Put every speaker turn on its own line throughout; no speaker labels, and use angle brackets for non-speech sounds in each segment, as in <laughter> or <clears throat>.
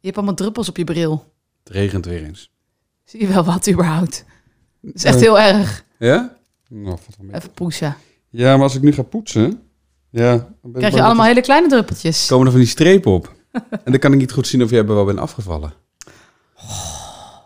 hebt allemaal druppels op je bril.
Het regent weer eens.
Zie je wel wat überhaupt? Dat is echt heel erg.
Ja? Nou, valt wel mee.
Even poesen.
Ja, maar als ik nu ga poetsen... Ja, dan ben ik
Krijg
bang
je
dat
allemaal
er
hele kleine druppeltjes.
Komen er van die strepen op.
<laughs>
en dan kan ik niet goed zien of jij er wel bent afgevallen.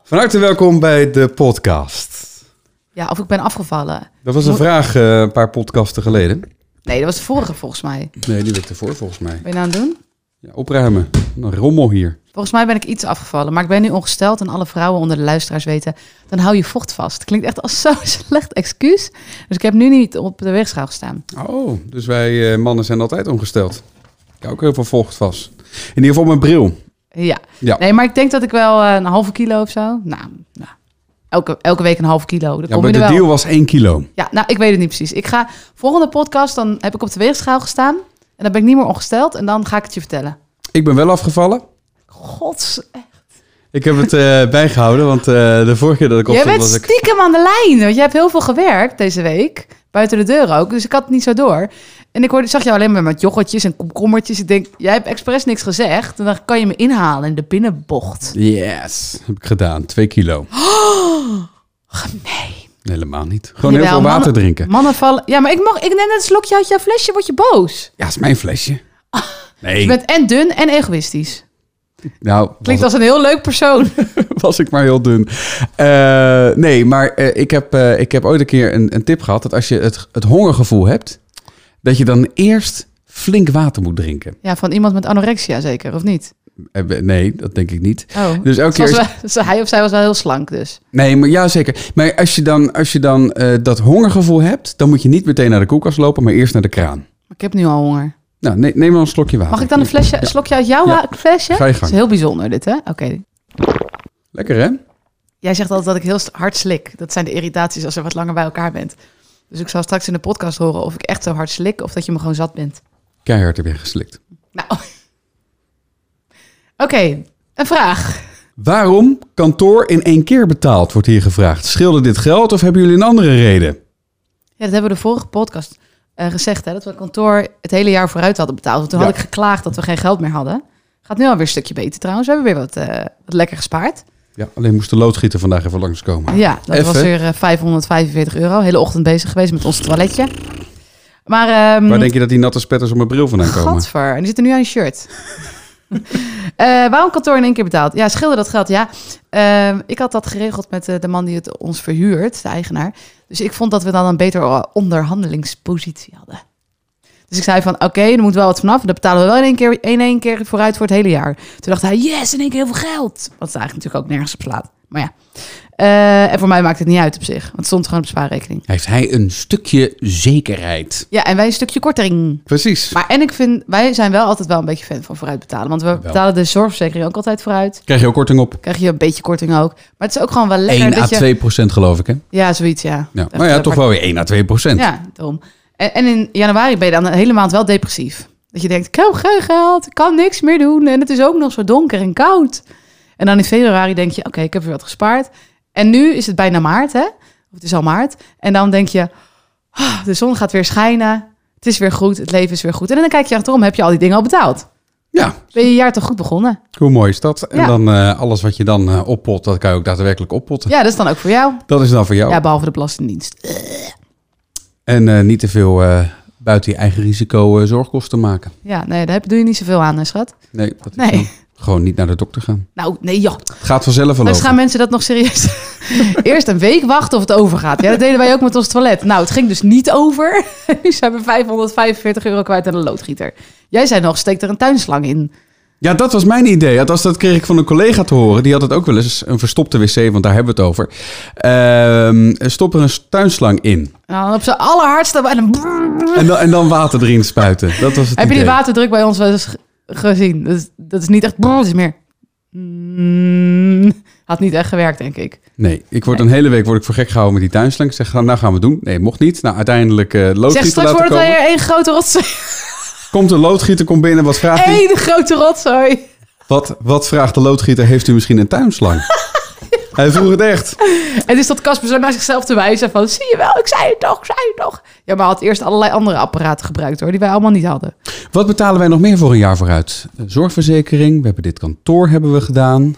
Van harte welkom bij de podcast.
Ja, of ik ben afgevallen.
Dat was een
Moet-
vraag eh, een paar podcasten geleden.
Nee, dat was de vorige volgens mij. Wat
Nee, die werd ervoor volgens mij.
ben je nou aan het doen?
Ja, opruimen. Een rommel hier.
Volgens mij ben ik iets afgevallen, maar ik ben nu ongesteld en alle vrouwen onder de luisteraars weten, dan hou je vocht vast. Klinkt echt als <laughs> zo'n slecht excuus. Dus ik heb nu niet op de weegschaal gestaan.
Oh, dus wij eh, mannen zijn altijd ongesteld. Ik hou ook heel veel vocht vast. In ieder geval mijn bril.
Ja.
Ja.
Nee, maar ik denk dat ik wel eh, een halve kilo of zo. Nou, nou. Elke, elke week een halve kilo. Dan
Ja,
kom
maar
je
de
er wel.
deal was 1 kilo.
Ja, nou, ik weet het niet precies. Ik ga volgende podcast, dan heb ik op de weegschaal gestaan. En dan ben ik niet meer ongesteld. En dan ga ik het je vertellen.
Ik ben wel afgevallen.
Gods.
Ik heb het eh, bijgehouden, want eh, de vorige keer dat ik
Jij
opstond
bent
was ik...
stiekem aan de lijn. Want jij hebt heel veel gewerkt deze week. Buiten de deur ook. Dus ik had het niet zo door. En ik hoorde, zag jou alleen maar met yoghurtjes en komkommertjes. Ik denk, jij hebt expres niks gezegd. En dan kan je me inhalen in de binnenbocht.
Yes, heb ik gedaan.
<gasps>
2 kilo.
Nee.
Nee, helemaal niet. Gewoon heel
Oh, Jawel,
veel water
mannen-
drinken.
Mannen vallen... Ja, maar ik, mag, ik neem net een slokje uit jouw flesje. Word je boos?
Ja, is mijn
<laughs>
flesje. Nee,
Je bent en dun en egoïstisch.
nou,
Klinkt
was,
als een heel leuk persoon. <laughs>
was ik maar heel dun. Eh, nee, maar eh, ik, heb, eh, ik heb ooit een keer een, een tip gehad... dat als je het, het hongergevoel hebt... dat je dan eerst flink water moet drinken.
Ja, van iemand met anorexia zeker, of niet?
Eh, nee, dat denk ik niet.
Oh,
Dus elke
Ze was
keer...
wel- ze- hij of zij was wel heel slank dus.
Nee, maar ja, zeker. Maar als je dan, als je dan eh, dat hongergevoel hebt... dan moet je niet meteen naar de koelkast lopen... maar eerst naar de kraan.
Maar ik heb nu al honger.
Nou, ne- neem dan een slokje water.
Mag ik dan een flesje,
Ja.
slokje uit jouw
Ja.
ha- flesje?
Ga je
Dat is
gang.
heel bijzonder dit, hè? Oké.
Lekker, hè?
Jij zegt altijd dat ik heel st- hard slik. Dat zijn de irritaties als je wat langer bij elkaar bent. Dus ik zal straks in de podcast horen of ik echt zo hard slik of dat je me gewoon zat bent.
Keihard heb je geslikt.
Nou. <laughs> Oké, een vraag.
Waarom kantoor in één keer betaald, wordt hier gevraagd. Scheelde dit geld of hebben jullie een andere reden?
Ja, dat hebben we de vorige podcast eh, gezegd, hè? Dat we het kantoor het hele jaar vooruit hadden betaald. Want toen
Ja.
had ik geklaagd dat we geen geld meer hadden. Gaat nu alweer een stukje beter trouwens. We hebben weer wat, eh, wat lekker gespaard.
Ja, alleen moest de loodgieter vandaag even langskomen.
Ja, dat
Even.
was weer eh, 545 euro. Hele ochtend bezig geweest met ons toiletje. Maar ehm
Waar denk je dat die natte spetters op mijn bril vandaan komen?
Gadver, en die zitten nu aan je shirt. <laughs> Eh, waarom kantoor in één keer betaald? Ja, scheelde dat geld, ja. Ehm, ik had dat geregeld met eh, de man die het ons verhuurt, de eigenaar. Dus ik vond dat we dan een betere onderhandelingspositie hadden. Dus ik zei van, oké, er moet wel wat vanaf. En dat betalen we wel in één, keer, in één keer vooruit voor het hele jaar. Toen dacht hij, yes, in één keer heel veel geld. Wat is eigenlijk natuurlijk ook nergens op slaat. Maar ja. Eh, en voor mij maakt het niet uit op zich. Want het stond gewoon op de spaarrekening.
Heeft hij een stukje zekerheid?
Ja, en wij een stukje korting.
Precies.
Maar en ik vind, wij zijn wel altijd wel een beetje fan van vooruitbetalen. Want we betalen de zorgverzekering ook altijd vooruit.
Krijg je ook korting op?
Krijg je een beetje korting ook. Maar het is ook gewoon wel
1
lekker
à
dat je...
2 procent geloof ik, hè?
Ja, zoiets, ja.
Ja.
Echt
Maar ja,
apart.
toch wel weer 1 à 2 procent.
Ja, daarom. En, en in januari ben je dan een hele maand wel depressief. Dat je denkt, ik heb geen geld, ik kan niks meer doen. En het is ook nog zo donker en koud. En dan in februari denk je, oké, ik heb weer wat gespaard. En nu is het bijna maart, hè? Of het is al maart. En dan denk je, ah, de zon gaat weer schijnen. Het is weer goed, het leven is weer goed. En dan kijk je achterom, heb je al die dingen al betaald?
Ja,
Ben je je jaar toch goed begonnen?
hoe mooi is dat? En
Ja.
dan eh, alles wat je dan eh, oppot, dat kan je ook daadwerkelijk oppotten.
Ja, dat is dan ook voor jou.
Dat is dan voor jou.
Ja, behalve de Belastingdienst.
En eh, niet te veel eh, buiten je eigen risico eh, zorgkosten maken.
Ja, nee, daar heb- doe je niet zoveel aan, hè, schat.
Nee, dat is
Nee.
zo. gewoon niet naar de dokter gaan.
Nou, nee, joh.
Het gaat vanzelf wel
Dus
over.
gaan mensen dat nog serieus? <laughs> Eerst een week wachten of het overgaat. Ja, dat deden wij ook met ons toilet. Nou, het ging dus niet over. <laughs> Nu zijn we 545 euro kwijt aan een loodgieter. Jij zei nog, steek er een tuinslang in.
Ja, dat was mijn idee. Althans, dat kreeg ik van een collega te horen. Die had het ook wel eens, een verstopte wc, want daar hebben we het over. Ehm, stop er een tuinslang in.
En dan op z'n allerhardste... En
<laughs>
dan... brrr.
En dan, en dan water erin spuiten. Dat was het
Heb je
idee.
die waterdruk bij ons wel eens ge- gezien? Dat is, dat is niet echt... brrr, Het is meer... Mm, had niet echt gewerkt, denk ik.
Nee, ik word een hele week word ik voor gek gehouden met die tuinslang. Ik zeg, nou gaan we het doen. Nee, mocht niet. Nou, uiteindelijk eh
Zeg,
loodgieter
straks
laten
wordt het
komen.
weer één grote rotzooi.
Komt een loodgieter, komt binnen. Wat vraagt hij?
Eén grote rotzooi. <laughs>
Wat, wat vraagt de loodgieter? Heeft u misschien een tuinslang? Hij vroeg het echt.
En dus dat Casper zo naar zichzelf te wijzen van... zie je wel, ik zei het toch, ik zei het toch. Ja, maar hij had eerst allerlei andere apparaten gebruikt hoor... die wij allemaal niet hadden.
Wat betalen wij nog meer voor een jaar vooruit? Eh, Zorgverzekering, we hebben dit kantoor hebben we gedaan.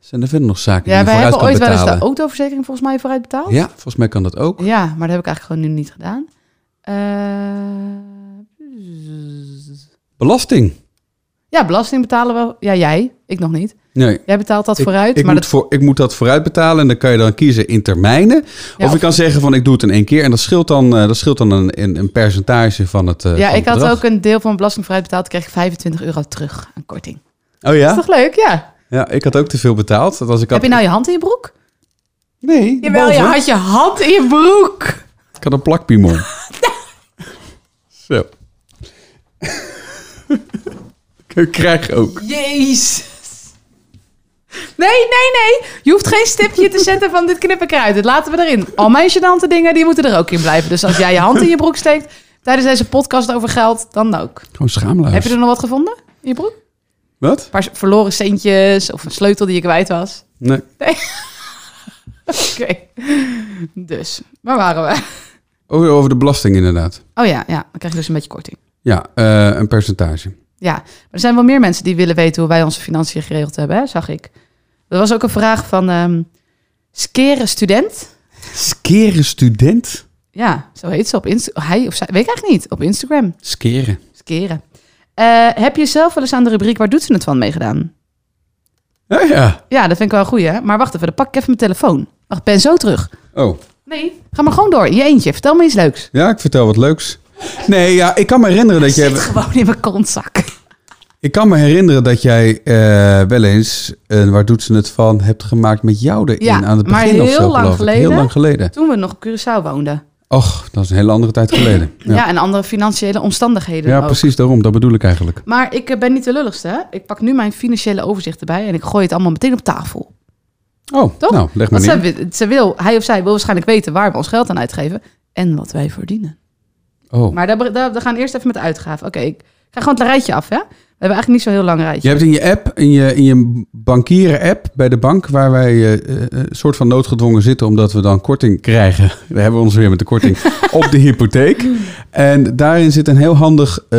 Zijn er verder nog zaken
Ja,
die
wij
je
hebben
vooruit
ooit
kan
wel eens de
betalen?
autoverzekering volgens mij vooruit betaald.
Ja, volgens mij kan dat ook.
Ja, maar dat heb ik eigenlijk gewoon nu niet gedaan. Eh,
Belasting.
ja, belasting betalen wel. Ja, jij. Ik nog niet.
Nee.
Jij betaalt dat
Ik-
vooruit.
Ik,
maar
moet
dat,
voor, ik moet dat vooruit betalen en dan kan je dan kiezen in termijnen.
Ja,
of je
of-
kan zeggen van ik doe het in één keer. En dat scheelt dan, eh, dat scheelt dan een, een, een percentage van het eh,
ja,
van
ik
het
had
bedrag.
ook een deel van mijn belasting vooruit betaald. kreeg ik 25 euro terug aan korting.
Oh
Is
ja?
toch leuk? Ja.
Ja, ik had ook te veel betaald. Dat als ik had...
Heb je nou je hand in je broek?
Nee,
Jawel, je
boven.
had je hand in je broek.
Ik had een <laughs> plakpiemon. Zo. ik krijg ook.
Jezus. Nee, nee, nee. Je hoeft geen stipje te zetten van dit knip ik eruit. Dit laten we erin. Al mijn gênante dingen, die moeten er ook in blijven. Dus als jij je hand in je broek steekt tijdens deze podcast over geld, dan ook.
Gewoon
Heb
schaamluis.
je er nog wat gevonden in je broek? Een
Wat?
paar verloren centjes of een sleutel die je kwijt was. <laughs>
Nee.
Oké. Dus, waar waren we?
Over, Oh, over de belasting inderdaad.
Oh ja, ja, dan krijg je dus een beetje korting.
Ja, eh, een percentage.
Ja, maar er zijn wel meer mensen die willen weten hoe wij onze financiën geregeld hebben, hè? zag ik. Er was ook een vraag van ehm Skere Student.
Skeren student?
Ja, zo heet ze op Instagram. Hij of zij, weet ik eigenlijk niet. Op Instagram.
Skeren.
Skeren. Eh, heb je zelf wel eens aan de rubriek Waar doet ze het van meegedaan?
Ja, ja.
Ja, dat vind ik wel een goeie, hè? Maar wacht even, dan pak ik even mijn telefoon. Wacht, ik ben zo terug.
Oh,
Nee. Ga maar gewoon door, in je eentje. Vertel me iets leuks.
ja, ik vertel wat leuks. Nee, ja, ik kan me herinneren dat
Zit
jij...
gewoon in mijn kontzak.
Ik kan me herinneren dat jij eh, wel eens... een waar doet ze het van? Hebt gemaakt met jou erin
Ja,
aan het
maar
begin of
heel
zo,
lang
geloof ik. Heel
geleden.
lang geleden.
Toen we nog op Curaçao woonden.
Och, dat is een hele andere tijd geleden.
<laughs> Ja, en andere financiële omstandigheden
Ja,
ook.
precies daarom. Dat bedoel ik eigenlijk.
Maar ik eh, ben niet de lulligste, hè? Ik pak nu mijn financiële overzicht erbij en ik gooi het allemaal meteen op tafel.
Oh,
Toch?
nou, leg maar
Want
neer.
zij, wi- ze wil, hij of zij wil waarschijnlijk weten waar we ons geld aan uitgeven en wat wij verdienen.
Oh.
Maar daar, daar, we gaan eerst even met de uitgaven. Oké, ik ga gewoon het rijtje af, hè? We hebben eigenlijk niet zo'n heel lang rijtje.
Je hebt in je app, in je, in je bankieren-app bij de bank, waar wij eh, eh, een soort van noodgedwongen zitten, omdat we dan korting krijgen. <laughs> Daar hebben we ons weer met de
<laughs>
korting op de hypotheek. En daarin zit een heel handig eh,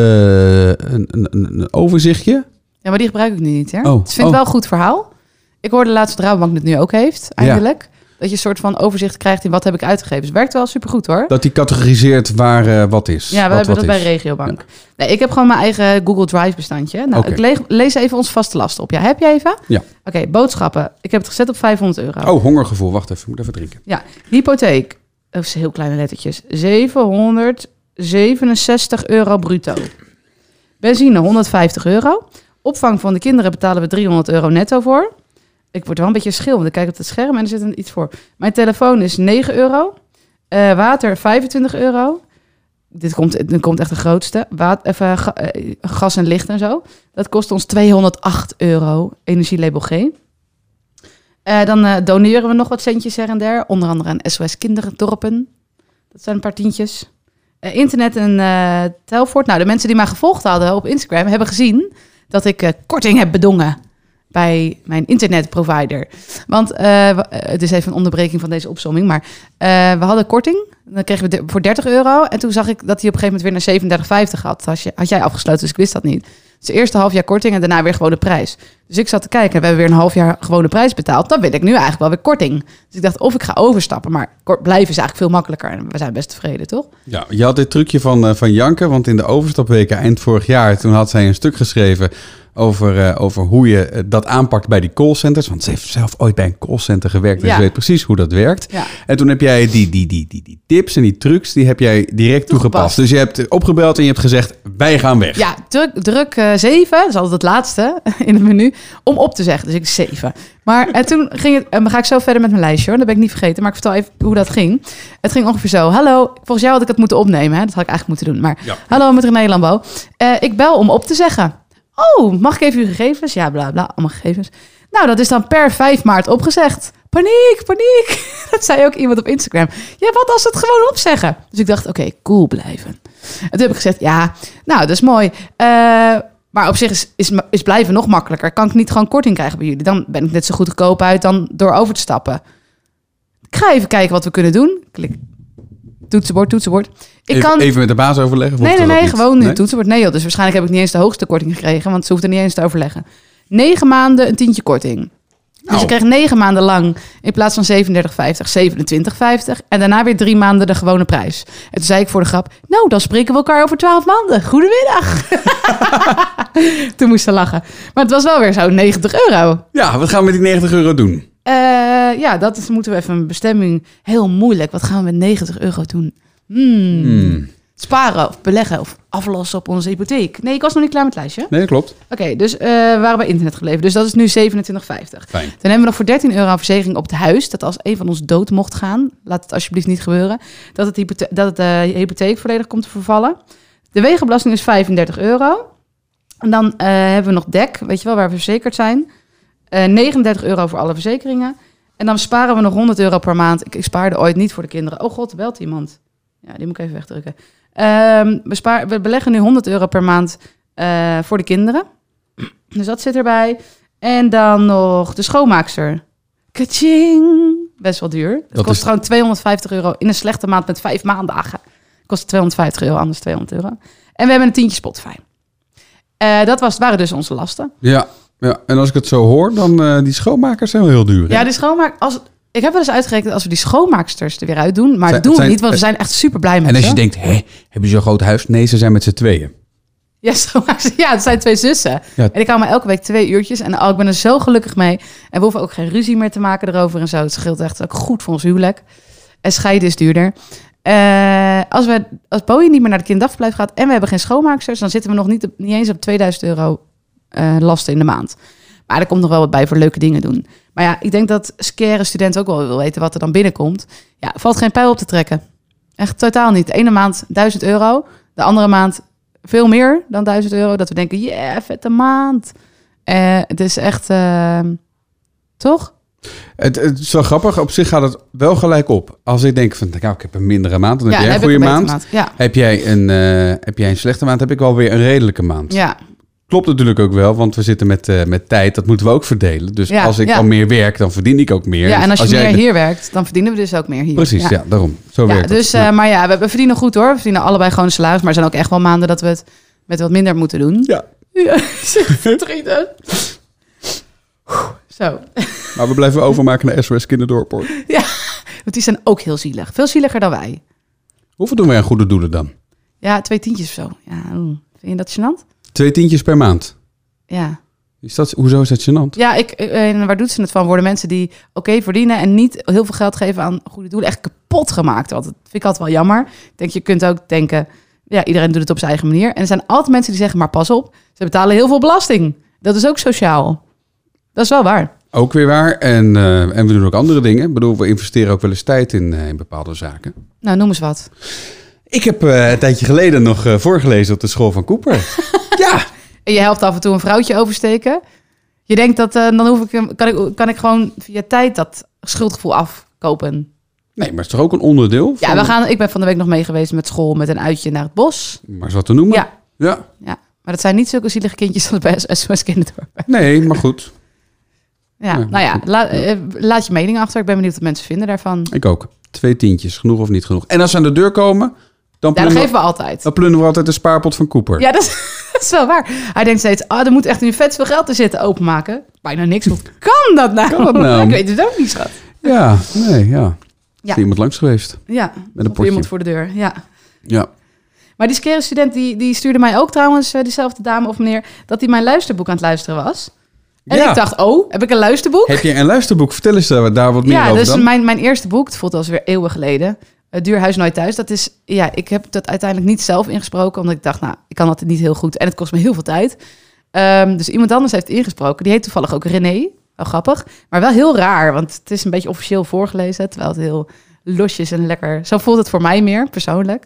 een, een, een een overzichtje.
Ja, maar die gebruik ik nu niet, hè?
Oh,
dus ik vind
oh.
wel een goed verhaal. Ik hoorde laatst dat Rabobank het nu ook heeft, eindelijk. Dat je een soort van overzicht krijgt in wat heb ik uitgegeven. Dus het werkt wel supergoed, hoor.
Dat die categoriseert waar eh, wat is.
Ja, we
wat,
hebben
wat
dat bij
is.
Regiobank. Nee, ik heb gewoon mijn eigen Google Drive bestandje. Nou,
Oké.
ik leeg- lees even ons vaste lasten op. Ja, heb je even?
Ja.
Oké, boodschappen. Ik heb het gezet op 500 euro.
Oh, hongergevoel. Wacht even, ik moet even drinken.
Ja, hypotheek. Of ze- heel kleine lettertjes. 767 euro bruto. Benzine 150 euro. Opvang van de kinderen betalen we 300 euro netto voor. Ik word wel een beetje schil, want ik kijk op het scherm en er zit een- iets voor. Mijn telefoon is 9 euro. Eh, water 25 euro. Dit komt, dit komt echt de grootste. Wat, even, ga- eh, gas en licht en zo. Dat kost ons 208 euro. Energielabel G. Eh, dan eh, doneren we nog wat centjes her en der. Onder andere aan SOS Kinderdorpen. Dat zijn een paar tientjes. Eh, internet en eh Telfort. Nou, de mensen die mij gevolgd hadden op Instagram hebben gezien dat ik eh, korting heb bedongen bij mijn internetprovider. Want eh, we- eh, het is even een onderbreking van deze opzomming, maar eh, we hadden korting. Dan kregen we de- voor 30 euro. En toen zag ik dat hij op een gegeven moment weer naar 37,50 had. Had, je, had jij afgesloten, dus ik wist dat niet. Dus eerst een half jaar korting en daarna weer gewone prijs. Dus ik zat te kijken, we hebben weer een half jaar gewone prijs betaald. Dan wil ik nu eigenlijk wel weer korting. Dus ik dacht, of ik ga overstappen, maar kort blijven is eigenlijk veel makkelijker. En we zijn best tevreden, toch?
Ja, je had dit trucje van, eh, van Janke, want in de overstapweken eind vorig jaar, toen had zij een stuk geschreven over, eh, over hoe je eh, dat aanpakt bij die callcenters. Want ze heeft zelf ooit bij een callcenter gewerkt, dus
Ja.
ze weet precies hoe dat werkt.
Ja.
En toen heb jij die, die, die, die, die tips en die trucs, die heb jij direct toegepast.
Toegepast.
Dus je hebt opgebeld en je hebt gezegd, wij gaan weg.
Ja, druk, druk 7, dat is altijd het laatste <laughs> in het menu, om op te zeggen. Dus ik 7. Maar en toen ging het, en dan ga ik zo verder met mijn lijstje hoor, dat ben ik niet vergeten. Maar ik vertel even hoe dat ging. Het ging ongeveer zo. Hallo, volgens jou had ik het moeten opnemen, hè? dat had ik eigenlijk moeten doen. Maar
Ja.
hallo met René Lambo. Eh, ik bel om op te zeggen. Oh, mag ik even uw gegevens? Ja, bla bla, allemaal gegevens. Nou, dat is dan per 5 maart opgezegd. Paniek, paniek. <laughs> Dat zei ook iemand op Instagram. Ja, wat als ze het gewoon opzeggen? Dus ik dacht, oké, cool blijven. En toen heb ik gezegd, ja, nou, dat is mooi. Eh, Maar op zich is, is, is blijven nog makkelijker. Kan ik niet gewoon korting krijgen bij jullie? Dan ben ik net zo goed goedkoop uit dan door over te stappen. Ik ga even kijken wat we kunnen doen. Klik. Toetsenbord, toetsenbord. Ik
even,
kan...
even met de baas overleggen? of
nee,
hoeft
nee,
dat
nee,
niet?
gewoon nu
Nee?
toetsenbord. Nee joh, dus waarschijnlijk heb ik niet eens de hoogste korting gekregen. Want ze hoefden niet eens te overleggen. Negen maanden een tientje korting. Dus
Nou.
ik kreeg negen maanden lang in plaats van 37,50, 27,50. En daarna weer drie maanden de gewone prijs. En toen zei ik voor de grap, nou, dan spreken we elkaar over twaalf maanden. Goedemiddag. <laughs> toen moest ze lachen. Maar het was wel weer zo'n 90 euro.
Ja, wat gaan we met die 90 euro doen?
Eh, ja, dat is, moeten we even een bestemming. Heel moeilijk. Wat gaan we met 90 euro doen? Hmm.
Hmm.
Sparen of beleggen of aflossen op onze hypotheek. Nee, ik was nog niet klaar met het lijstje.
Nee, dat klopt.
Oké, dus eh, we waren bij internet gebleven. Dus dat is nu 27,50.
Fijn.
Dan hebben we nog voor 13 euro aan verzekering op het huis. Dat als een van ons dood mocht gaan, laat het alsjeblieft niet gebeuren. Dat, het hypothe- dat het, de hypotheek volledig komt te vervallen. De wegenbelasting is 35 euro. En dan eh, hebben we nog DEC, weet je wel, waar we verzekerd zijn. Eh 39 euro voor alle verzekeringen. En dan sparen we nog 100 euro per maand. Ik, ik spaarde ooit niet voor de kinderen. Oh god, er belt iemand. Ja, die moet ik even wegdrukken. Ehm, we, spaar, we beleggen nu 100 euro per maand eh, voor de kinderen. <clears throat> Dus dat zit erbij. En dan nog de schoonmaakster. Kaching! Best wel duur. Het
Dat
kost
is-
gewoon 250 euro in een slechte maand met vijf maandagen. Kost 250 euro, anders 200 euro. En we hebben een tientje Spotify. Eh, dat was, waren dus onze lasten.
Ja, ja, en als ik het zo hoor, dan eh die schoonmakers zijn wel heel duur. hè?
Ja, de schoonmaak... Als, ik heb wel eens uitgerekend als we die schoonmaaksters er weer uit doen. Maar
Zijn-
dat doen we
zijn-
niet, want we zijn echt super blij met
en als je
ze.
denkt, hé, hebben ze zo'n groot huis? Nee, ze zijn met z'n tweeën.
Ja, <laughs> schoonmaakster. Ja, het zijn twee zussen.
Ja.
En ik hou me elke week twee uurtjes. En oh, ik ben er zo gelukkig mee. En we hoeven ook geen ruzie meer te maken erover en zo. Het scheelt echt ook goed voor ons huwelijk. En scheiden is duurder. Eh, als, we, als Boeing niet meer naar de kinderdagverblijf gaat... en we hebben geen schoonmaaksters... dan zitten we nog niet, op- niet eens op 2000 euro eh, lasten in de maand. Maar er komt nog wel wat bij voor leuke dingen doen. Maar ja, ik denk dat scare student ook wel wil weten wat er dan binnenkomt. Ja, valt geen pijl op te trekken. Echt totaal niet. De ene maand 1000 euro, de andere maand veel meer dan 1000 euro. Dat we denken, yeah, vette maand. Eh, het is echt, eh, toch?
Het, het is wel grappig, op zich gaat het wel gelijk op. Als ik denk van, nou, ik heb een mindere maand, dan heb jij
dan
een
heb ik
goede
een betere
maand.
Ja.
Heb jij, een, eh, heb jij een slechte maand, heb ik wel weer een redelijke maand.
Ja.
Klopt natuurlijk ook wel, want we zitten met, eh, met tijd, dat moeten we ook verdelen. Dus
Ja,
als ik
ja.
dan meer werk, dan verdien ik ook meer.
ja,
Dus
en als je meer
jij-
hier werkt, dan verdienen we dus ook meer hier.
Precies, ja, daarom. Zo
Ja,
werkt het.
dus, eh, maar ja, we, we verdienen goed hoor. We verdienen allebei gewoon een salaris. Maar er zijn ook echt wel maanden dat we het met wat minder moeten doen.
Ja.
<laughs> Ja, verdrietig. Zo.
Maar we blijven overmaken naar SOS Kinderdorp. hoor.
Want die zijn ook heel zielig. Veel zieliger dan wij.
Hoeveel doen wij aan goede doelen dan?
Ja, twee tientjes of zo. Ja, oeh. vind je dat gênant?
Twee tientjes per maand.
Ja.
Is dat, hoezo is dat gênant?
Ja, ik, eh, en waar doet ze het van? Worden mensen die oké verdienen en niet heel veel geld geven aan goede doelen echt kapot gemaakt? Want dat vind ik altijd wel jammer. Ik denk, je kunt ook denken, ja, iedereen doet het op zijn eigen manier. En er zijn altijd mensen die zeggen, maar pas op, ze betalen heel veel belasting. Dat is ook sociaal. Dat is wel waar.
Ook weer waar. En, eh, en we doen ook andere dingen. Ik bedoel, we investeren ook wel eens tijd in, eh, in bepaalde zaken.
Nou, noem eens wat.
Ik heb eh, een tijdje geleden nog eh, voorgelezen op de school van Cooper. <laughs> ja,
En je helpt af en toe een vrouwtje oversteken. Je denkt dat, eh, dan hoef ik, hem- kan, ik, kan ik gewoon via tijd dat schuldgevoel afkopen.
nee, maar het is toch ook een onderdeel?
Ja,
van-
we gaan, ik ben van de week nog mee geweest met school met een uitje naar het bos.
Maar is wat te noemen?
Ja.
ja.
Ja, maar dat zijn niet zulke zielige kindjes <laughs> als bij SOS Kinderdorp.
Nee, maar goed.
Ja,
Ja,
nou ja, la- eh, laat je mening achter. Ik ben benieuwd wat mensen vinden daarvan.
Ik ook. Twee tientjes, genoeg of niet genoeg. En als ze aan de deur komen, dan
Ja, dat
plunderen,
geven we altijd.
dan plunderen we altijd de spaarpot van Cooper.
Ja, dat is, <laughs> dat is wel waar. Hij denkt steeds, ah, er moet echt nu vet veel geld te zitten openmaken. Bijna niks.
<laughs>
Hoe kan dat nou?
Kan dat
<laughs>
nou?
Ik weet het ook niet, schat.
Ja, nee, ja. Is
Ja.
er iemand langs geweest?
Ja,
Met een
of iemand
potje.
voor de deur. Ja.
Ja.
Maar die scare student die, die stuurde mij ook trouwens, eh, diezelfde dame of meneer, dat hij mijn luisterboek aan het luisteren was. En
Ja.
ik dacht, oh, heb ik een luisterboek?
Heb je een luisterboek? Vertel eens daar daar wat meer
ja,
over
dus
dan.
Mijn, mijn eerste boek, het voelt als weer eeuwen geleden. Het Duur Huis Nooit Thuis. Dat is, ja, ik heb dat uiteindelijk niet zelf ingesproken, omdat ik dacht, nou, ik kan dat niet heel goed en het kost me heel veel tijd. Ehm, dus iemand anders heeft ingesproken. Die heet toevallig ook René. Wel grappig, maar wel heel raar, want het is een beetje officieel voorgelezen, terwijl het heel losjes en lekker. Zo voelt het voor mij meer persoonlijk.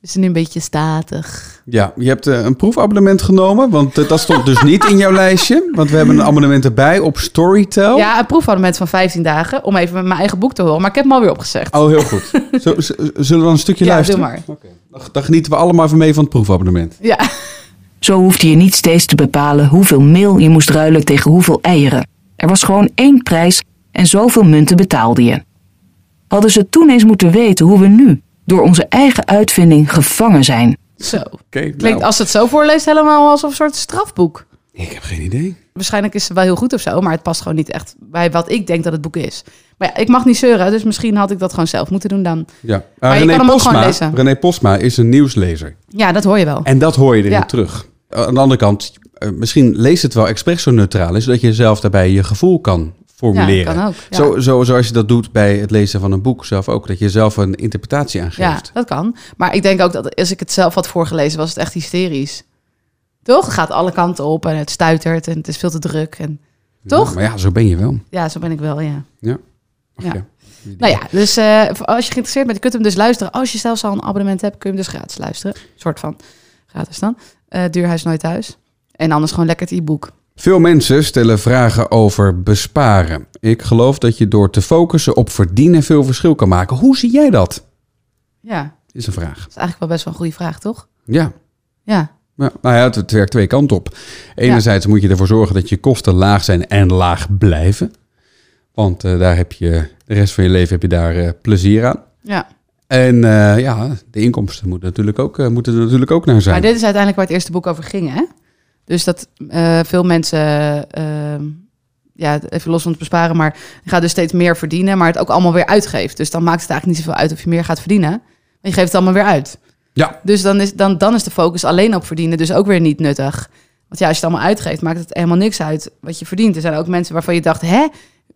Dus nu een beetje statig.
Ja, je hebt eh, een proefabonnement genomen, want eh, dat stond dus niet in
<laughs>
jouw lijstje. Want we hebben een abonnement erbij op Storytel.
Ja, een proefabonnement van 15 dagen om even mijn eigen boek te horen, maar ik heb hem alweer opgezegd.
Oh, heel goed. Zo, z- zullen we dan een stukje
ja,
luisteren?
doe maar.
Dan, dan genieten we allemaal van mee van het proefabonnement.
Ja. <laughs>
Zo hoefde je niet steeds te bepalen hoeveel meel je moest ruilen tegen hoeveel eieren. Er was gewoon één prijs en zoveel munten betaalde je. Hadden ze toen eens moeten weten hoe we nu, door onze eigen uitvinding, gevangen zijn.
Zo.
Oké, nou.
Klinkt als ze het zo voorleest helemaal als een soort strafboek.
Ik heb geen idee.
Waarschijnlijk is ze wel heel goed of zo, maar het past gewoon niet echt bij wat ik denk dat het boek is. Maar ja, ik mag niet zeuren, dus misschien had ik dat gewoon zelf moeten doen dan.
Ja. Eh,
Maar je
René,
kan hem ook gewoon
Postma,
lezen.
René Postma is een nieuwslezer.
Ja, dat hoor je wel.
En dat hoor je erin
Ja.
terug. Aan de andere kant, eh, misschien leest het wel expres zo neutraal is, zodat je zelf daarbij je gevoel kan
Ja,
formuleren.
kan ook. Ja.
Zo, zo, zoals je dat doet bij het lezen van een boek zelf ook. Dat je zelf een interpretatie
ja,
aangeeft.
dat kan. Maar ik denk ook dat als ik het zelf had voorgelezen, was het echt hysterisch. Toch? Het gaat alle kanten op en het stuitert en het is veel te druk. En... Toch?
Ja, maar ja, zo ben je wel.
Ja, zo ben ik wel, ja.
Ach
Ja.
ja.
Nou ja, dus eh, als je geïnteresseerd bent, je kunt hem dus luisteren. Als je zelfs al een abonnement hebt, kun je hem dus gratis luisteren. soort van gratis dan. Eh, Duurhuis Nooit Thuis. En anders gewoon lekker het e-book.
Veel mensen stellen vragen over besparen. Ik geloof dat je door te focussen op verdienen veel verschil kan maken. Hoe zie jij dat?
Ja, dat
Is een vraag.
is eigenlijk wel best wel een goede vraag, toch?
Ja.
Ja,
Nou nou ja, het, het werkt twee kanten op. Enerzijds moet je ervoor zorgen dat je kosten laag zijn en laag blijven. Want eh, daar heb je de rest van je leven heb je daar eh, plezier aan.
ja.
En eh, ja, de inkomsten moeten, natuurlijk ook, eh, moeten er natuurlijk ook naar
maar
zijn.
dit is uiteindelijk waar het eerste boek over ging, hè? Dus dat eh, veel mensen, eh, ja, even los van het besparen, maar je gaat dus steeds meer verdienen, maar het ook allemaal weer uitgeeft. Dus dan maakt het eigenlijk niet zoveel uit of je meer gaat verdienen. Want je geeft het allemaal weer uit.
Ja,
Dus dan is, dan, dan is de focus alleen op verdienen dus ook weer niet nuttig. Want ja, als je het allemaal uitgeeft, maakt het helemaal niks uit wat je verdient. Er zijn ook mensen waarvan je dacht, hè,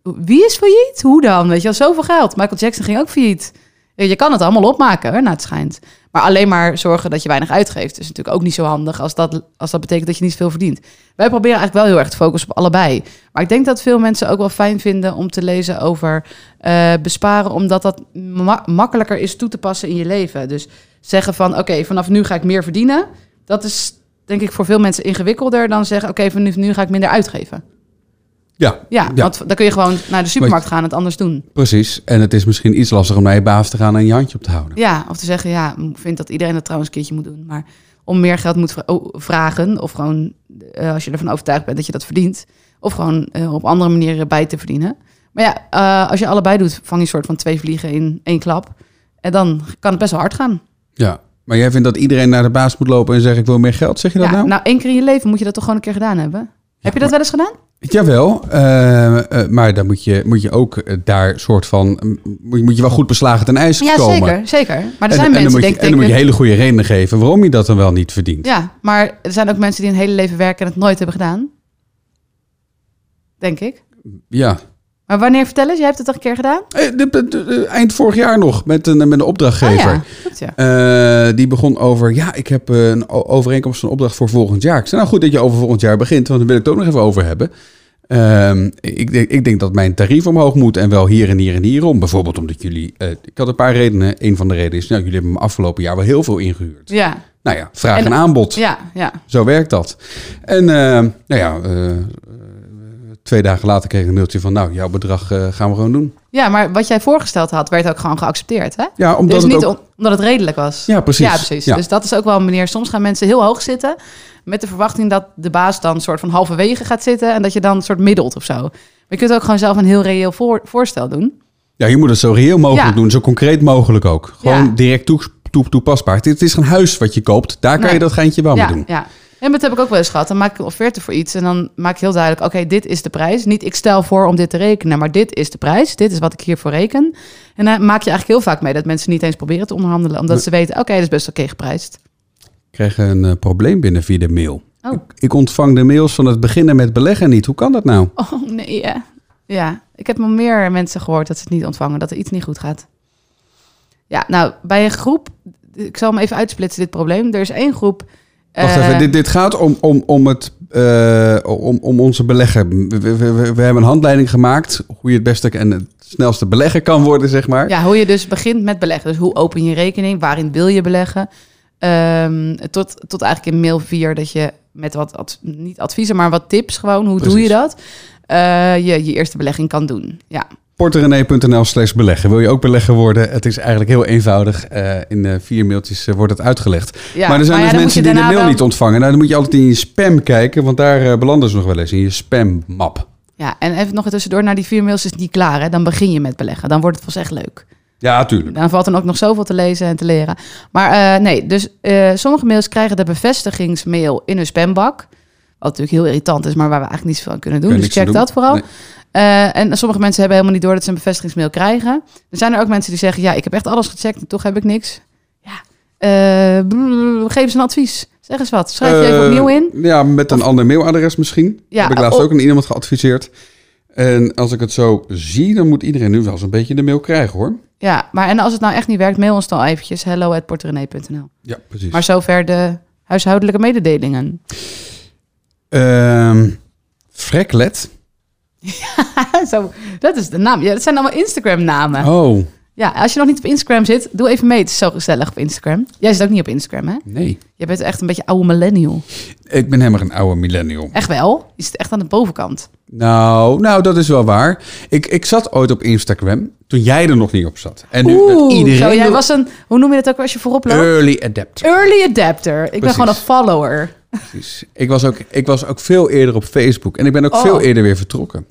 wie is failliet? Hoe dan? Weet je wel, zoveel geld. Michael Jackson ging ook failliet. Ja, Je kan het allemaal opmaken, hoor, naar het schijnt. Maar alleen maar zorgen dat je weinig uitgeeft... is natuurlijk ook niet zo handig als dat, als dat betekent dat je niet veel verdient. Wij proberen eigenlijk wel heel erg te focussen op allebei. Maar ik denk dat veel mensen ook wel fijn vinden om te lezen over eh, besparen... omdat dat ma- makkelijker is toe te passen in je leven. Dus zeggen van oké, vanaf nu ga ik meer verdienen. Dat is denk ik voor veel mensen ingewikkelder dan zeggen oké, vanaf nu ga ik minder uitgeven.
ja,
Ja, want dan kun je gewoon naar de supermarkt gaan en het anders doen.
precies. En het is misschien iets lastiger om naar je baas te gaan en je handje op te houden.
Ja, of te zeggen ja, ik vind dat iedereen dat trouwens een keertje moet doen. Maar om meer geld moet vra- oh, vragen of gewoon eh, als je ervan overtuigd bent dat je dat verdient. Of gewoon eh, op andere manieren bij te verdienen. Maar ja, eh, als je allebei doet, vang je een soort van twee vliegen in één klap. En dan kan het best wel hard gaan.
Ja, maar jij vindt dat iedereen naar de baas moet lopen en zeggen ik wil meer geld, zeg je dat
Ja,
nou?
nou, één keer in je leven moet je dat toch gewoon een keer gedaan hebben. Heb je dat wel eens gedaan?
Jawel, eh, eh, maar dan moet je, moet je ook eh, daar soort van, mm, moet je, moet je wel goed beslagen ten ijs
Ja,
komen.
zeker, zeker. Maar er
En,
zijn
en dan
mensen die
moet je,
denken...
en dan moet je hele goede redenen geven waarom je dat dan wel niet verdient.
Ja, maar er zijn ook mensen die hun hele leven werken en het nooit hebben gedaan. Denk ik.
Ja.
Maar wanneer, vertel eens, jij hebt het toch een keer gedaan?
Eh, de- de- de- Eind vorig jaar nog met een, met een
Ah
opdrachtgever.
ja, klopt ja.
Eh, die begon over, ja, ik heb eh, een o- overeenkomst van opdracht voor volgend jaar. Ik zei, nou goed dat je over volgend jaar begint, want daar wil ik het ook nog even over hebben. Ehm, ik, denk, ik denk dat mijn tarief omhoog moet en wel hier en hier en hierom. Bijvoorbeeld omdat jullie, eh, ik had een paar redenen. Een van de redenen is, nou, jullie hebben me afgelopen jaar wel heel veel ingehuurd.
Ja,
Nou ja, vraag en,
En-
aanbod.
ja, ja.
Zo werkt dat. En eh, nou ja, eh, twee dagen later kreeg ik een mailtje van, nou, jouw bedrag eh, gaan we gewoon doen.
Ja, maar wat jij voorgesteld had, werd ook gewoon geaccepteerd, hè?
Ja, omdat
Dus
het
niet
ook...
om- omdat het redelijk was.
Ja, precies.
Ja, precies.
Ja.
Dus dat is ook wel een manier. Soms gaan mensen heel hoog zitten met de verwachting dat de baas dan soort van halverwege gaat zitten en dat je dan een soort middelt of zo. Maar je kunt ook gewoon zelf een heel reëel voor- voorstel doen.
Ja, je moet het zo reëel mogelijk
Ja.
doen, zo concreet mogelijk ook. Gewoon
Ja.
direct toe- toe- toepasbaar. Het is geen huis wat je koopt, daar kan
Nee.
je dat geintje wel
ja,
mee Oh, doen.
ja. En dat heb ik ook wel eens gehad. Dan maak ik een offerte voor iets en dan maak ik heel duidelijk: oké, dit is de prijs. Niet ik stel voor om dit te rekenen, maar dit is de prijs. Dit is wat ik hiervoor reken. En dan maak je eigenlijk heel vaak mee dat mensen niet eens proberen te onderhandelen, omdat ze weten: oké, dat is best oké geprijsd.
Ik kreeg een eh, probleem binnen via de mail.
Oh.
Ik, ik ontvang de mails van het beginnen met beleggen niet. Hoe kan dat nou?
Oh nee, ja. Ja, ik heb wel meer mensen gehoord dat ze het niet ontvangen, dat er iets niet goed gaat. Ja, nou, bij een groep, ik zal hem even uitsplitsen, dit probleem. Er is één groep.
Wacht
eh,
even, dit, dit gaat om, om, om, het, eh, om, om onze beleggen. We, we, we- we hebben een handleiding gemaakt hoe je het beste en het snelste belegger kan worden, zeg maar.
Ja, hoe je dus begint met beleggen. Dus hoe open je rekening? Waarin wil je beleggen? Ehm, tot, tot eigenlijk in mail 4 dat je met wat, ad- niet adviezen, maar wat tips gewoon. Hoe doe je
Precies.
dat? Eh, je je eerste belegging kan doen. Ja.
porterenee.nl slash beleggen. Wil je ook beleggen worden? Het is eigenlijk heel eenvoudig. Eh, in eh, vier mailtjes eh, wordt het uitgelegd.
Ja,
maar er zijn
maar ja,
dus
dan
mensen
moet je
die de
daarna
mail
wel-
niet ontvangen. Nou, dan moet je altijd in je spam kijken, want daar eh, belanden ze nog wel eens. In je spammap.
Ja, en even nog tussendoor, naar die vier mails is het niet klaar. Hè? Dan begin je met beleggen. Dan wordt het pas echt leuk.
Ja, tuurlijk.
Dan valt dan ook nog zoveel te lezen en te leren. Maar eh, nee, dus eh, sommige mails krijgen de bevestigingsmail in hun spambak. Wat natuurlijk heel irritant is, maar waar we eigenlijk niets van kunnen doen.
Kun je
dus
niks
check
aan
dat vooral.
Nee.
Eh, en sommige mensen hebben helemaal niet door dat ze een bevestigingsmail krijgen. Er zijn er ook mensen die zeggen, ja, ik heb echt alles gecheckt en toch heb ik niks. Ja, eh, blablabla, geef eens een advies. Zeg eens wat. Schrijf je even
Eh,
opnieuw in.
Ja, met een ander mailadres misschien.
Ja,
Heb ik laatst
oh.
ook aan iemand geadviseerd. En als ik het zo zie, dan moet iedereen nu wel eens een beetje de mail krijgen hoor.
Ja, maar en als het nou echt niet werkt, mail ons dan eventjes hello@portrenee.nl.
Ja, precies.
Maar zover de huishoudelijke mededelingen.
Ehm, Freklet.
<laughs> Zo, dat is de naam. Ja, dat zijn allemaal Instagram-namen.
Oh,
Ja, als je nog niet op Instagram zit, doe even mee. Het is zo gezellig op Instagram. Jij zit ook niet op Instagram, hè?
nee.
Je bent echt een beetje oude millennial.
Ik ben helemaal een oude millennial.
Echt wel? Je zit echt aan de bovenkant.
Nou, nou, dat is wel waar. Ik, ik zat ooit op Instagram toen jij er nog niet op zat. En nu dat iedereen...
zo, jij
wil-
was een... Hoe noem je dat ook als je voorop loopt?
Early adapter.
Early adapter. Ik ben
Precies.
gewoon een follower.
Precies. Ik, was ook, ik was ook veel eerder op Facebook. En ik ben ook
Oh.
veel eerder weer vertrokken.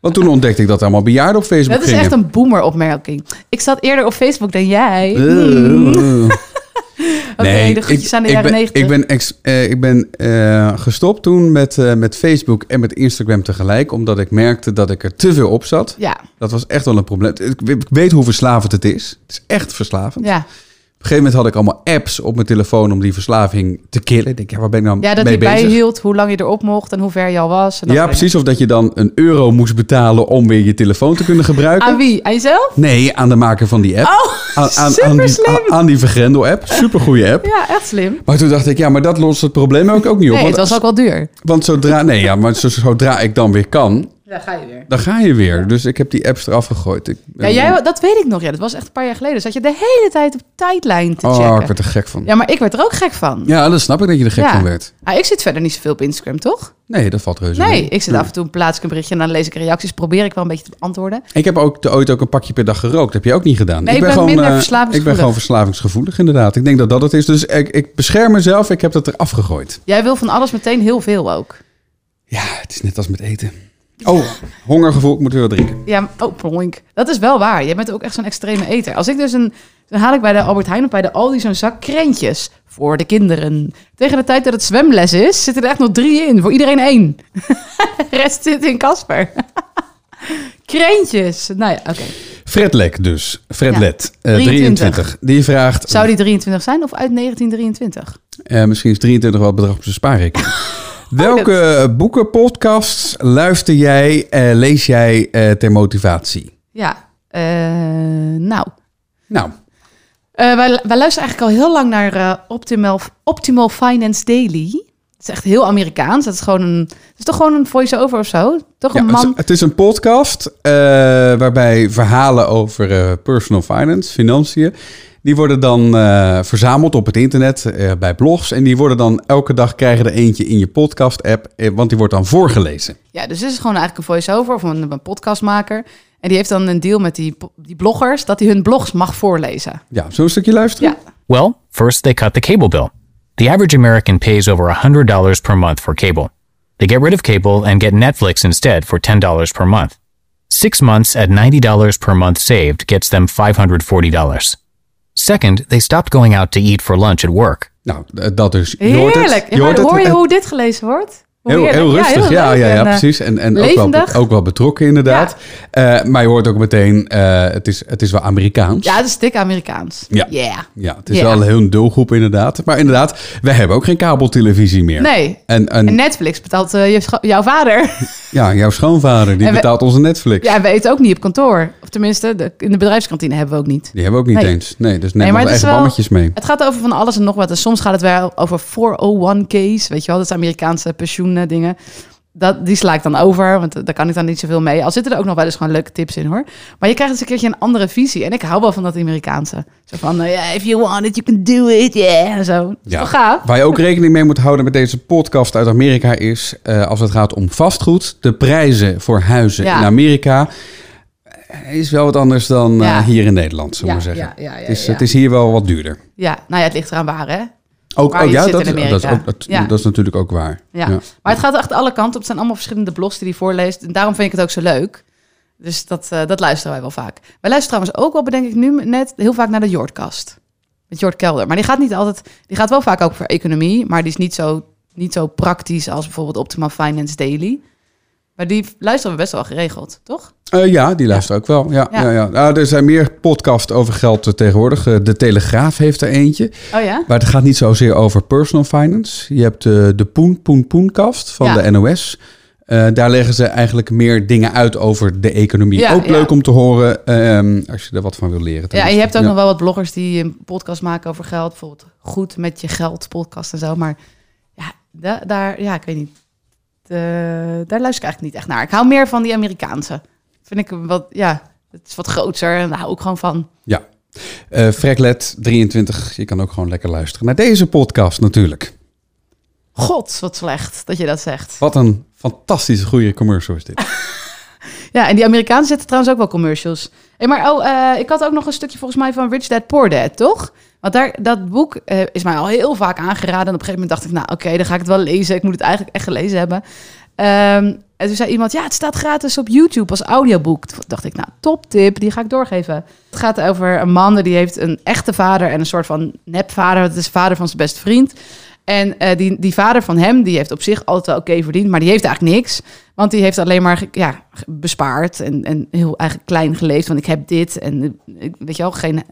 Want toen ontdekte ik dat allemaal bejaarden op Facebook
Dat is echt een boomer-opmerking. Ik zat eerder op Facebook dan jij. Hmm.
Eh.
Oké, de groetjes aan de
ik
jaren
ben,
negentig.
ik ben, ex- eh, ik ben eh, gestopt toen met, eh, met Facebook en met Instagram tegelijk. Omdat ik merkte dat ik er te veel op zat.
Ja,
Dat was echt wel een probleem. Ik we- ik weet hoe verslavend het is. Het is echt verslavend.
ja.
Op een gegeven moment had ik allemaal apps op mijn telefoon om die verslaving te killen. Ik denk, ja, waar ben ik nou
ja dat
mee
hij
bezig?
bijhield hoe lang je erop mocht en hoe ver je al was. En dat
ja,
soort
precies. Of dat je dan een euro moest betalen om weer je telefoon te kunnen
dingen.
gebruiken.
Aan wie? Aan jezelf?
Nee, aan de maker van die app.
Oh, <laughs>
aan, aan, aan
super
die,
slim.
aan, aan die Vergrendel-app. Supergoeie app.
Ja, echt slim.
Maar toen dacht ik, ja, maar dat lost het probleem ook, ook niet op.
Nee, het
want,
was ook wel duur.
want zodra, nee, ja, maar zo- zodra ik dan weer kan,
Ja, ga je weer.
dan ga je weer. Dus ik heb die apps eraf gegooid. Ik, Oh,
Ja, jij, dat weet ik nog. Ja, dat was echt een paar jaar geleden. Zat je de hele tijd op tijdlijn te
Oh, ik
checken.
werd er gek van. Ja.
Ja, maar ik werd er ook gek van.
dat snap ik dat je er gek
Ja.
van werd.
Ah, ik zit verder niet zoveel op Instagram, toch?
Nee, dat valt reuze mee.
Nee, ik zit af en toe plaats ik een berichtje en dan lees ik reacties. Probeer ik wel een beetje te beantwoorden.
Ik heb ook te- ooit ook een pakje per dag gerookt. Heb je ook niet gedaan.
Nee, ik ben minder
eh,
verslavingsgevoelig.
Ik ben gewoon verslavingsgevoelig, inderdaad. Ik denk dat dat het is. Dus ik, ik bescherm mezelf. Ik heb dat eraf gegooid.
Jij wil van alles meteen heel veel ook.
Ja, het is net als met eten. Oh, hongergevoel. Ik moet weer wat drinken.
Ja, maar- oh, pronk. Dat is wel waar. Jij bent ook echt zo'n extreme eter. Als ik dus een... Dan haal ik bij de Albert Heijn of bij de Aldi zo'n zak krentjes voor de kinderen. Tegen de tijd dat het zwemles is, zitten er echt nog drie in. Voor iedereen één. <laughs> de rest zit in Casper. <laughs> krentjes. Nou ja, oké.
Fred Lek dus. Fred
Ja.
Let, eh, 23.
23.
Die vraagt...
Zou die 23 zijn of uit 1923?
Eh, misschien is 23 wel het bedrag op zijn
<laughs>
spaarrekening.
Oh,
Welke boekenpodcasts luister jij, eh, lees jij eh, ter motivatie?
Ja. eh, nou.
Nou,
Eh, wij, wij luisteren eigenlijk al heel lang naar eh, Optimal, Optimal Finance Daily. Het is echt heel Amerikaans. Dat is gewoon een, het is toch gewoon een voice-over of zo? Toch
ja,
een
het, is,
man.
het is een podcast eh, waarbij verhalen over eh, personal finance, financiën, die worden dan eh, verzameld op het internet eh, bij blogs. En die worden dan elke dag krijgen er eentje in je podcast-app, eh, want die wordt dan voorgelezen.
Ja, dus dit is gewoon eigenlijk een voice-over of een, een podcastmaker. En die heeft dan een deal met die, po- die bloggers dat hij hun blogs mag voorlezen.
Ja, zo'n stukje luisteren?
Ja.
Well, first they cut the cable bill. The average American pays over $100 per month for cable. They get rid of cable and get Netflix instead for $10 per month. Six months at $90 per month saved gets them $540. Second, they stopped going out to eat for lunch at work.
Nou, d- dat dus. Je hoort het.
Heerlijk.
Je hoort
hoor
het.
je hoe dit gelezen wordt? Hoe
Heel,
heerlijk.
heel rustig, ja,
leuk
ja,
en,
ja,
eh,
precies. En, en ook, wel,
levendig.
ook wel betrokken, inderdaad. Eh, maar je hoort ook meteen, eh, het, is, het is wel Amerikaans.
Ja, het is dik Amerikaans.
Ja.
Yeah.
Ja, het is
Ja.
wel een heel doelgroep, inderdaad. Maar inderdaad, wij hebben ook geen kabeltelevisie meer.
Nee.
En, en,
En Netflix betaalt eh, je scho- jouw vader. <laughs>
ja, jouw schoonvader, die
En we-
betaalt onze Netflix.
ja, en we eten ook niet op kantoor. Of tenminste, de, in de bedrijfskantine hebben we ook niet.
Die hebben we ook niet
Nee.
eens. Nee, dus neem
maar
onze
het is
eigen
wel-
bammetjes mee.
Het gaat over van alles en nog wat. En soms gaat het wel over 401k's, weet je wel, dat zijn Amerikaanse pensioendingen. Dat, die sla ik dan over, want eh, daar kan ik dan niet zoveel mee. Al zitten er ook nog wel eens gewoon leuke tips in hoor. Maar je krijgt eens een keertje een andere visie. En ik hou wel van dat Amerikaanse. Zo van, eh, yeah, if you want it, you can do it, yeah. en Zo, dat is wel gaaf.
Waar je ook rekening mee moet houden met deze podcast uit Amerika is, eh, als het gaat om vastgoed, de prijzen voor huizen
Ja.
in Amerika is wel wat anders dan eh,
Ja.
hier in Nederland, zullen we
Ja,
maar zeggen.
ja, ja, ja,
het, is,
ja.
het is hier wel wat duurder.
Ja, nou ja, het ligt eraan waar, hè?
Ook, oh
Waar je
ja,
zit
dat,
in
is- dat, is
Amerika.
ook- dat,
Ja.
dat is natuurlijk ook waar.
Ja. Maar het gaat echt alle kanten op. Het zijn allemaal verschillende blogs die hij voorleest. En daarom vind ik het ook zo leuk. Dus dat, eh, dat luisteren wij wel vaak. Wij luisteren trouwens ook wel, bedenk ik nu net, heel vaak naar de Jordkast. Met Jord Kelder. Maar die gaat niet altijd... Die gaat wel vaak ook voor economie. Maar die is niet zo, niet zo praktisch als bijvoorbeeld Optima Finance Daily. Maar die luisteren we best wel geregeld, toch?
Eh, ja, die luistert ook wel. Ja, ja.
Ja.
Ja, Nou, er zijn meer podcasts over geld eh, tegenwoordig. Eh, De Telegraaf heeft er eentje.
Oh ja?
Maar het gaat niet zozeer over personal finance. Je hebt eh, de Poen Poen Poenkast van
Ja.
de NOS. Eh, daar leggen ze eigenlijk meer dingen uit over de economie.
Ja,
ook
ja.
leuk om te horen ehm, als je er wat van wil leren.
Ja, en
tenminste.
je hebt ook
Ja.
nog wel wat bloggers die een podcast maken over geld. Bijvoorbeeld Goed met je geld podcast en zo. Maar ja, da- daar, ja ik weet niet. De- daar luister ik eigenlijk niet echt naar. Ik hou meer van die Amerikaanse. Vind ik wat, ja, het is wat groter en daar hou ik gewoon van.
Ja. Eh Freklet 23, je kan ook gewoon lekker luisteren naar deze podcast natuurlijk.
God, wat slecht dat je dat zegt.
Wat een fantastische goede commercial is dit.
Ja, en die Amerikaanse zetten trouwens ook wel commercials. Hey, maar oh, eh, ik had ook nog een stukje volgens mij van Rich Dad Poor Dad, toch? Want daar, dat boek eh, is mij al heel vaak aangeraden. En op een gegeven moment dacht ik, nou oké, dan ga ik het wel lezen. Ik moet het eigenlijk echt gelezen hebben. Ehm, en toen zei iemand, ja, het staat gratis op YouTube als audioboek. Toen dacht ik, nou, top tip, die ga ik doorgeven. Het gaat over een man die heeft een echte vader en een soort van nepvader. Dat is de vader van zijn beste vriend. En eh, die, die vader van hem, die heeft op zich altijd wel oké verdiend, maar die heeft eigenlijk niks. Want die heeft alleen maar ja, bespaard en, en heel eigenlijk klein geleefd. Want ik heb dit en eh, ik- weet je wel, geen,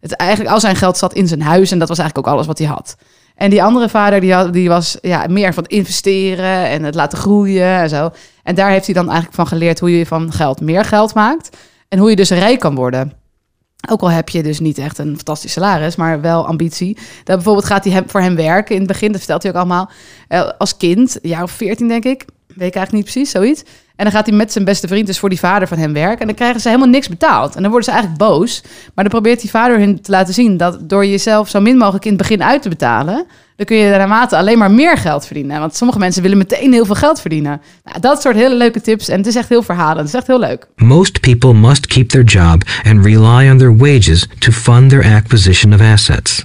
het, eigenlijk al zijn geld zat in zijn huis en dat was eigenlijk ook alles wat hij had. En die andere vader, die, had, die was ja, meer van het investeren en het laten groeien en zo. En daar heeft hij dan eigenlijk van geleerd hoe je van geld meer geld maakt. En hoe je dus rijk kan worden. Ook al heb je dus niet echt een fantastisch salaris, maar wel ambitie. Dat bijvoorbeeld gaat hij hem, voor hem werken. In het begin, dat vertelt hij ook allemaal, eh, als kind, een jaar of veertien denk ik. Weet ik eigenlijk niet precies, zoiets. En dan gaat hij met zijn beste vriend dus voor die vader van hem werken. En dan krijgen ze helemaal niks betaald. En dan worden ze eigenlijk boos. Maar dan probeert die vader hun te laten zien dat door jezelf zo min mogelijk in het begin uit te betalen, dan kun je naarmate alleen maar meer geld verdienen. Want sommige mensen willen meteen heel veel geld verdienen. Nou, dat soort hele leuke tips. En het is echt heel verhalend. Het is echt heel leuk.
Most people must keep their job and rely on their wages to fund their acquisition of assets.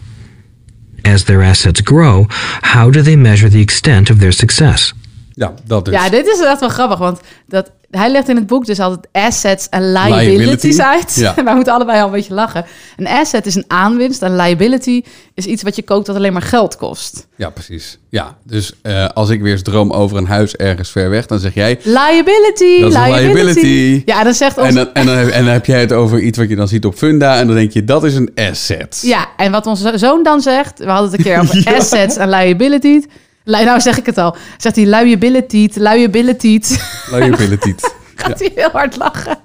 As their assets grow, how do they measure the extent of their success?
Ja, dat dus.
Ja, dit is echt wel grappig, want dat, hij legt in het boek dus altijd assets en liabilities
Liability.
uit. <laughs>
Ja.
Wij moeten allebei al een beetje lachen. Een asset is een aanwinst en liability is iets wat je koopt dat alleen maar geld kost.
Ja, precies. Ja, dus eh, als ik weer eens droom over een huis ergens ver weg, dan zeg jij...
Liability,
Dat is een
liability.
liability.
Ja, dan zegt ons...
En dan, en, dan, heb- en dan heb jij het over iets wat je dan ziet op Funda en dan denk je, dat is een asset.
Ja, en wat onze zoon dan zegt, we hadden het een keer
<laughs>
over assets en liability. Li- Nou zeg ik het al. Zegt hij liability, liability.
Liability.
Gaat hij heel hard lachen.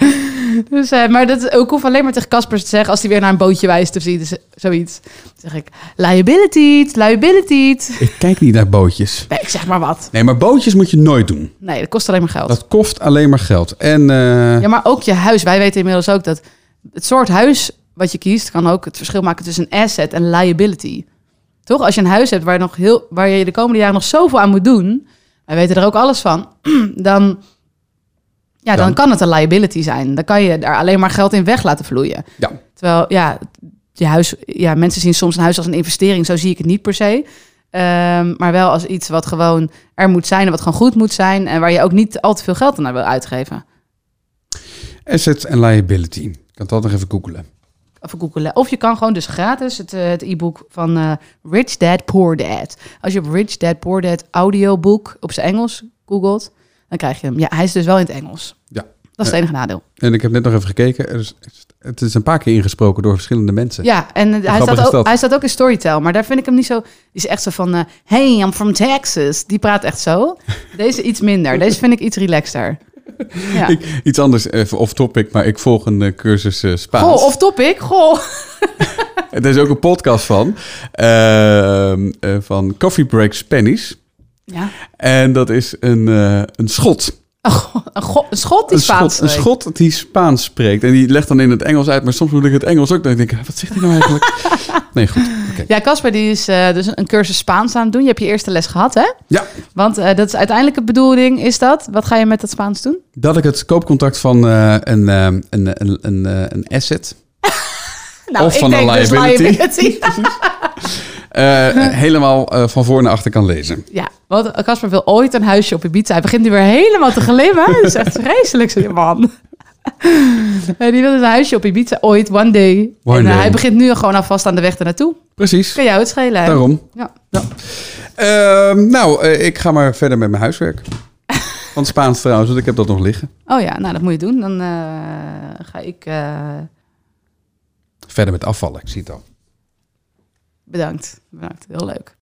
<laughs> dus, eh, maar dat, ik hoef alleen maar tegen Casper te zeggen als hij weer naar een bootje wijst of zoiets. zoiets. Dan zeg ik liability, liability.
<laughs> ik kijk niet naar bootjes.
Nee, ik zeg maar wat.
Nee, maar bootjes moet je nooit doen.
Nee, dat kost alleen maar geld.
Dat kost alleen maar geld. En eh,
Ja, maar ook je huis. Wij weten inmiddels ook dat het soort huis wat je kiest kan ook het verschil maken tussen een asset en liability. Toch? Als je een huis hebt waar, nog heel, waar je de komende jaren nog zoveel aan moet doen, wij weten er ook alles van, <clears throat> dan, ja, dan,
Dan?
kan het een liability zijn. Dan kan je daar alleen maar geld in weg laten vloeien.
ja.
Terwijl, ja, je huis, ja, mensen zien soms een huis als een investering. Zo zie ik het niet per se. Ehm, maar wel als iets wat gewoon er moet zijn en wat gewoon goed moet zijn. En waar je ook niet al te veel geld aan wil uitgeven.
assets en liability. Ik kan dat nog even googelen.
Of googelen. Of je kan gewoon dus gratis het, eh, het e-book van eh, Rich Dad Poor Dad. Als je op Rich Dad Poor Dad audioboek op zijn Engels googelt, dan krijg je hem. Ja, hij is dus wel in het Engels.
Ja.
Dat is het enige nadeel.
En ik heb net nog even gekeken. Er is, het is een paar keer ingesproken door verschillende mensen.
Ja, en eh, hij
grappig is
staat,
dat?
ook, hij staat ook in Storytel, maar daar vind ik hem niet zo... Die is echt zo van, eh, hey, I'm from Texas. Die praat echt
<laughs>
zo. Deze iets minder. Deze vind ik iets relaxter. Ja.
Ik, iets anders, even off topic, maar ik volg een eh, cursus eh, Spaans.
Goh, of topic. Goh.
Er is ook een podcast van, ehm, eh, van Coffee Break Spanish.
Ja.
En dat is een, eh, een schot.
Een, go- een go- een schot die
Een
Spaans eh,
schot, een
spreekt.
schot die Spaans spreekt. En die legt dan in het Engels uit. Maar soms moet ik het Engels ook. Dan denk ik, wat zegt hij nou <laughs> eigenlijk? nee, goed. Oké.
Ja, Casper die is eh, dus een cursus Spaans aan het doen. Je hebt je eerste les gehad, hè?
Ja,
Want eh, dat is uiteindelijk de bedoeling, is dat. Wat ga je met dat Spaans doen?
dat ik het koopcontact van eh, een, eh, een, een, een, eh, een asset...
Nou,
Of van een liability.
liability.
eh, helemaal eh, van voor naar achter kan lezen.
<laughs> ja, want Casper wil ooit een huisje op Ibiza. Hij begint nu weer helemaal te glimmen. Dat is echt vreselijk, zo'n man. <laughs> Eh, Die wil dus een huisje op Ibiza ooit, one day.
One
en eh,
day.
hij begint nu gewoon alvast aan de weg ernaartoe.
Precies,
Kan jou het schelen?
daarom.
Ja.
Ehm, nou, eh, ik ga maar verder met mijn huiswerk. Van Spaans trouwens, want ik heb dat nog liggen.
Oh ja, nou dat moet je doen. Dan eh, ga ik... eh,
Verder met afvallen, ik zie het al.
bedankt. Bedankt, heel leuk.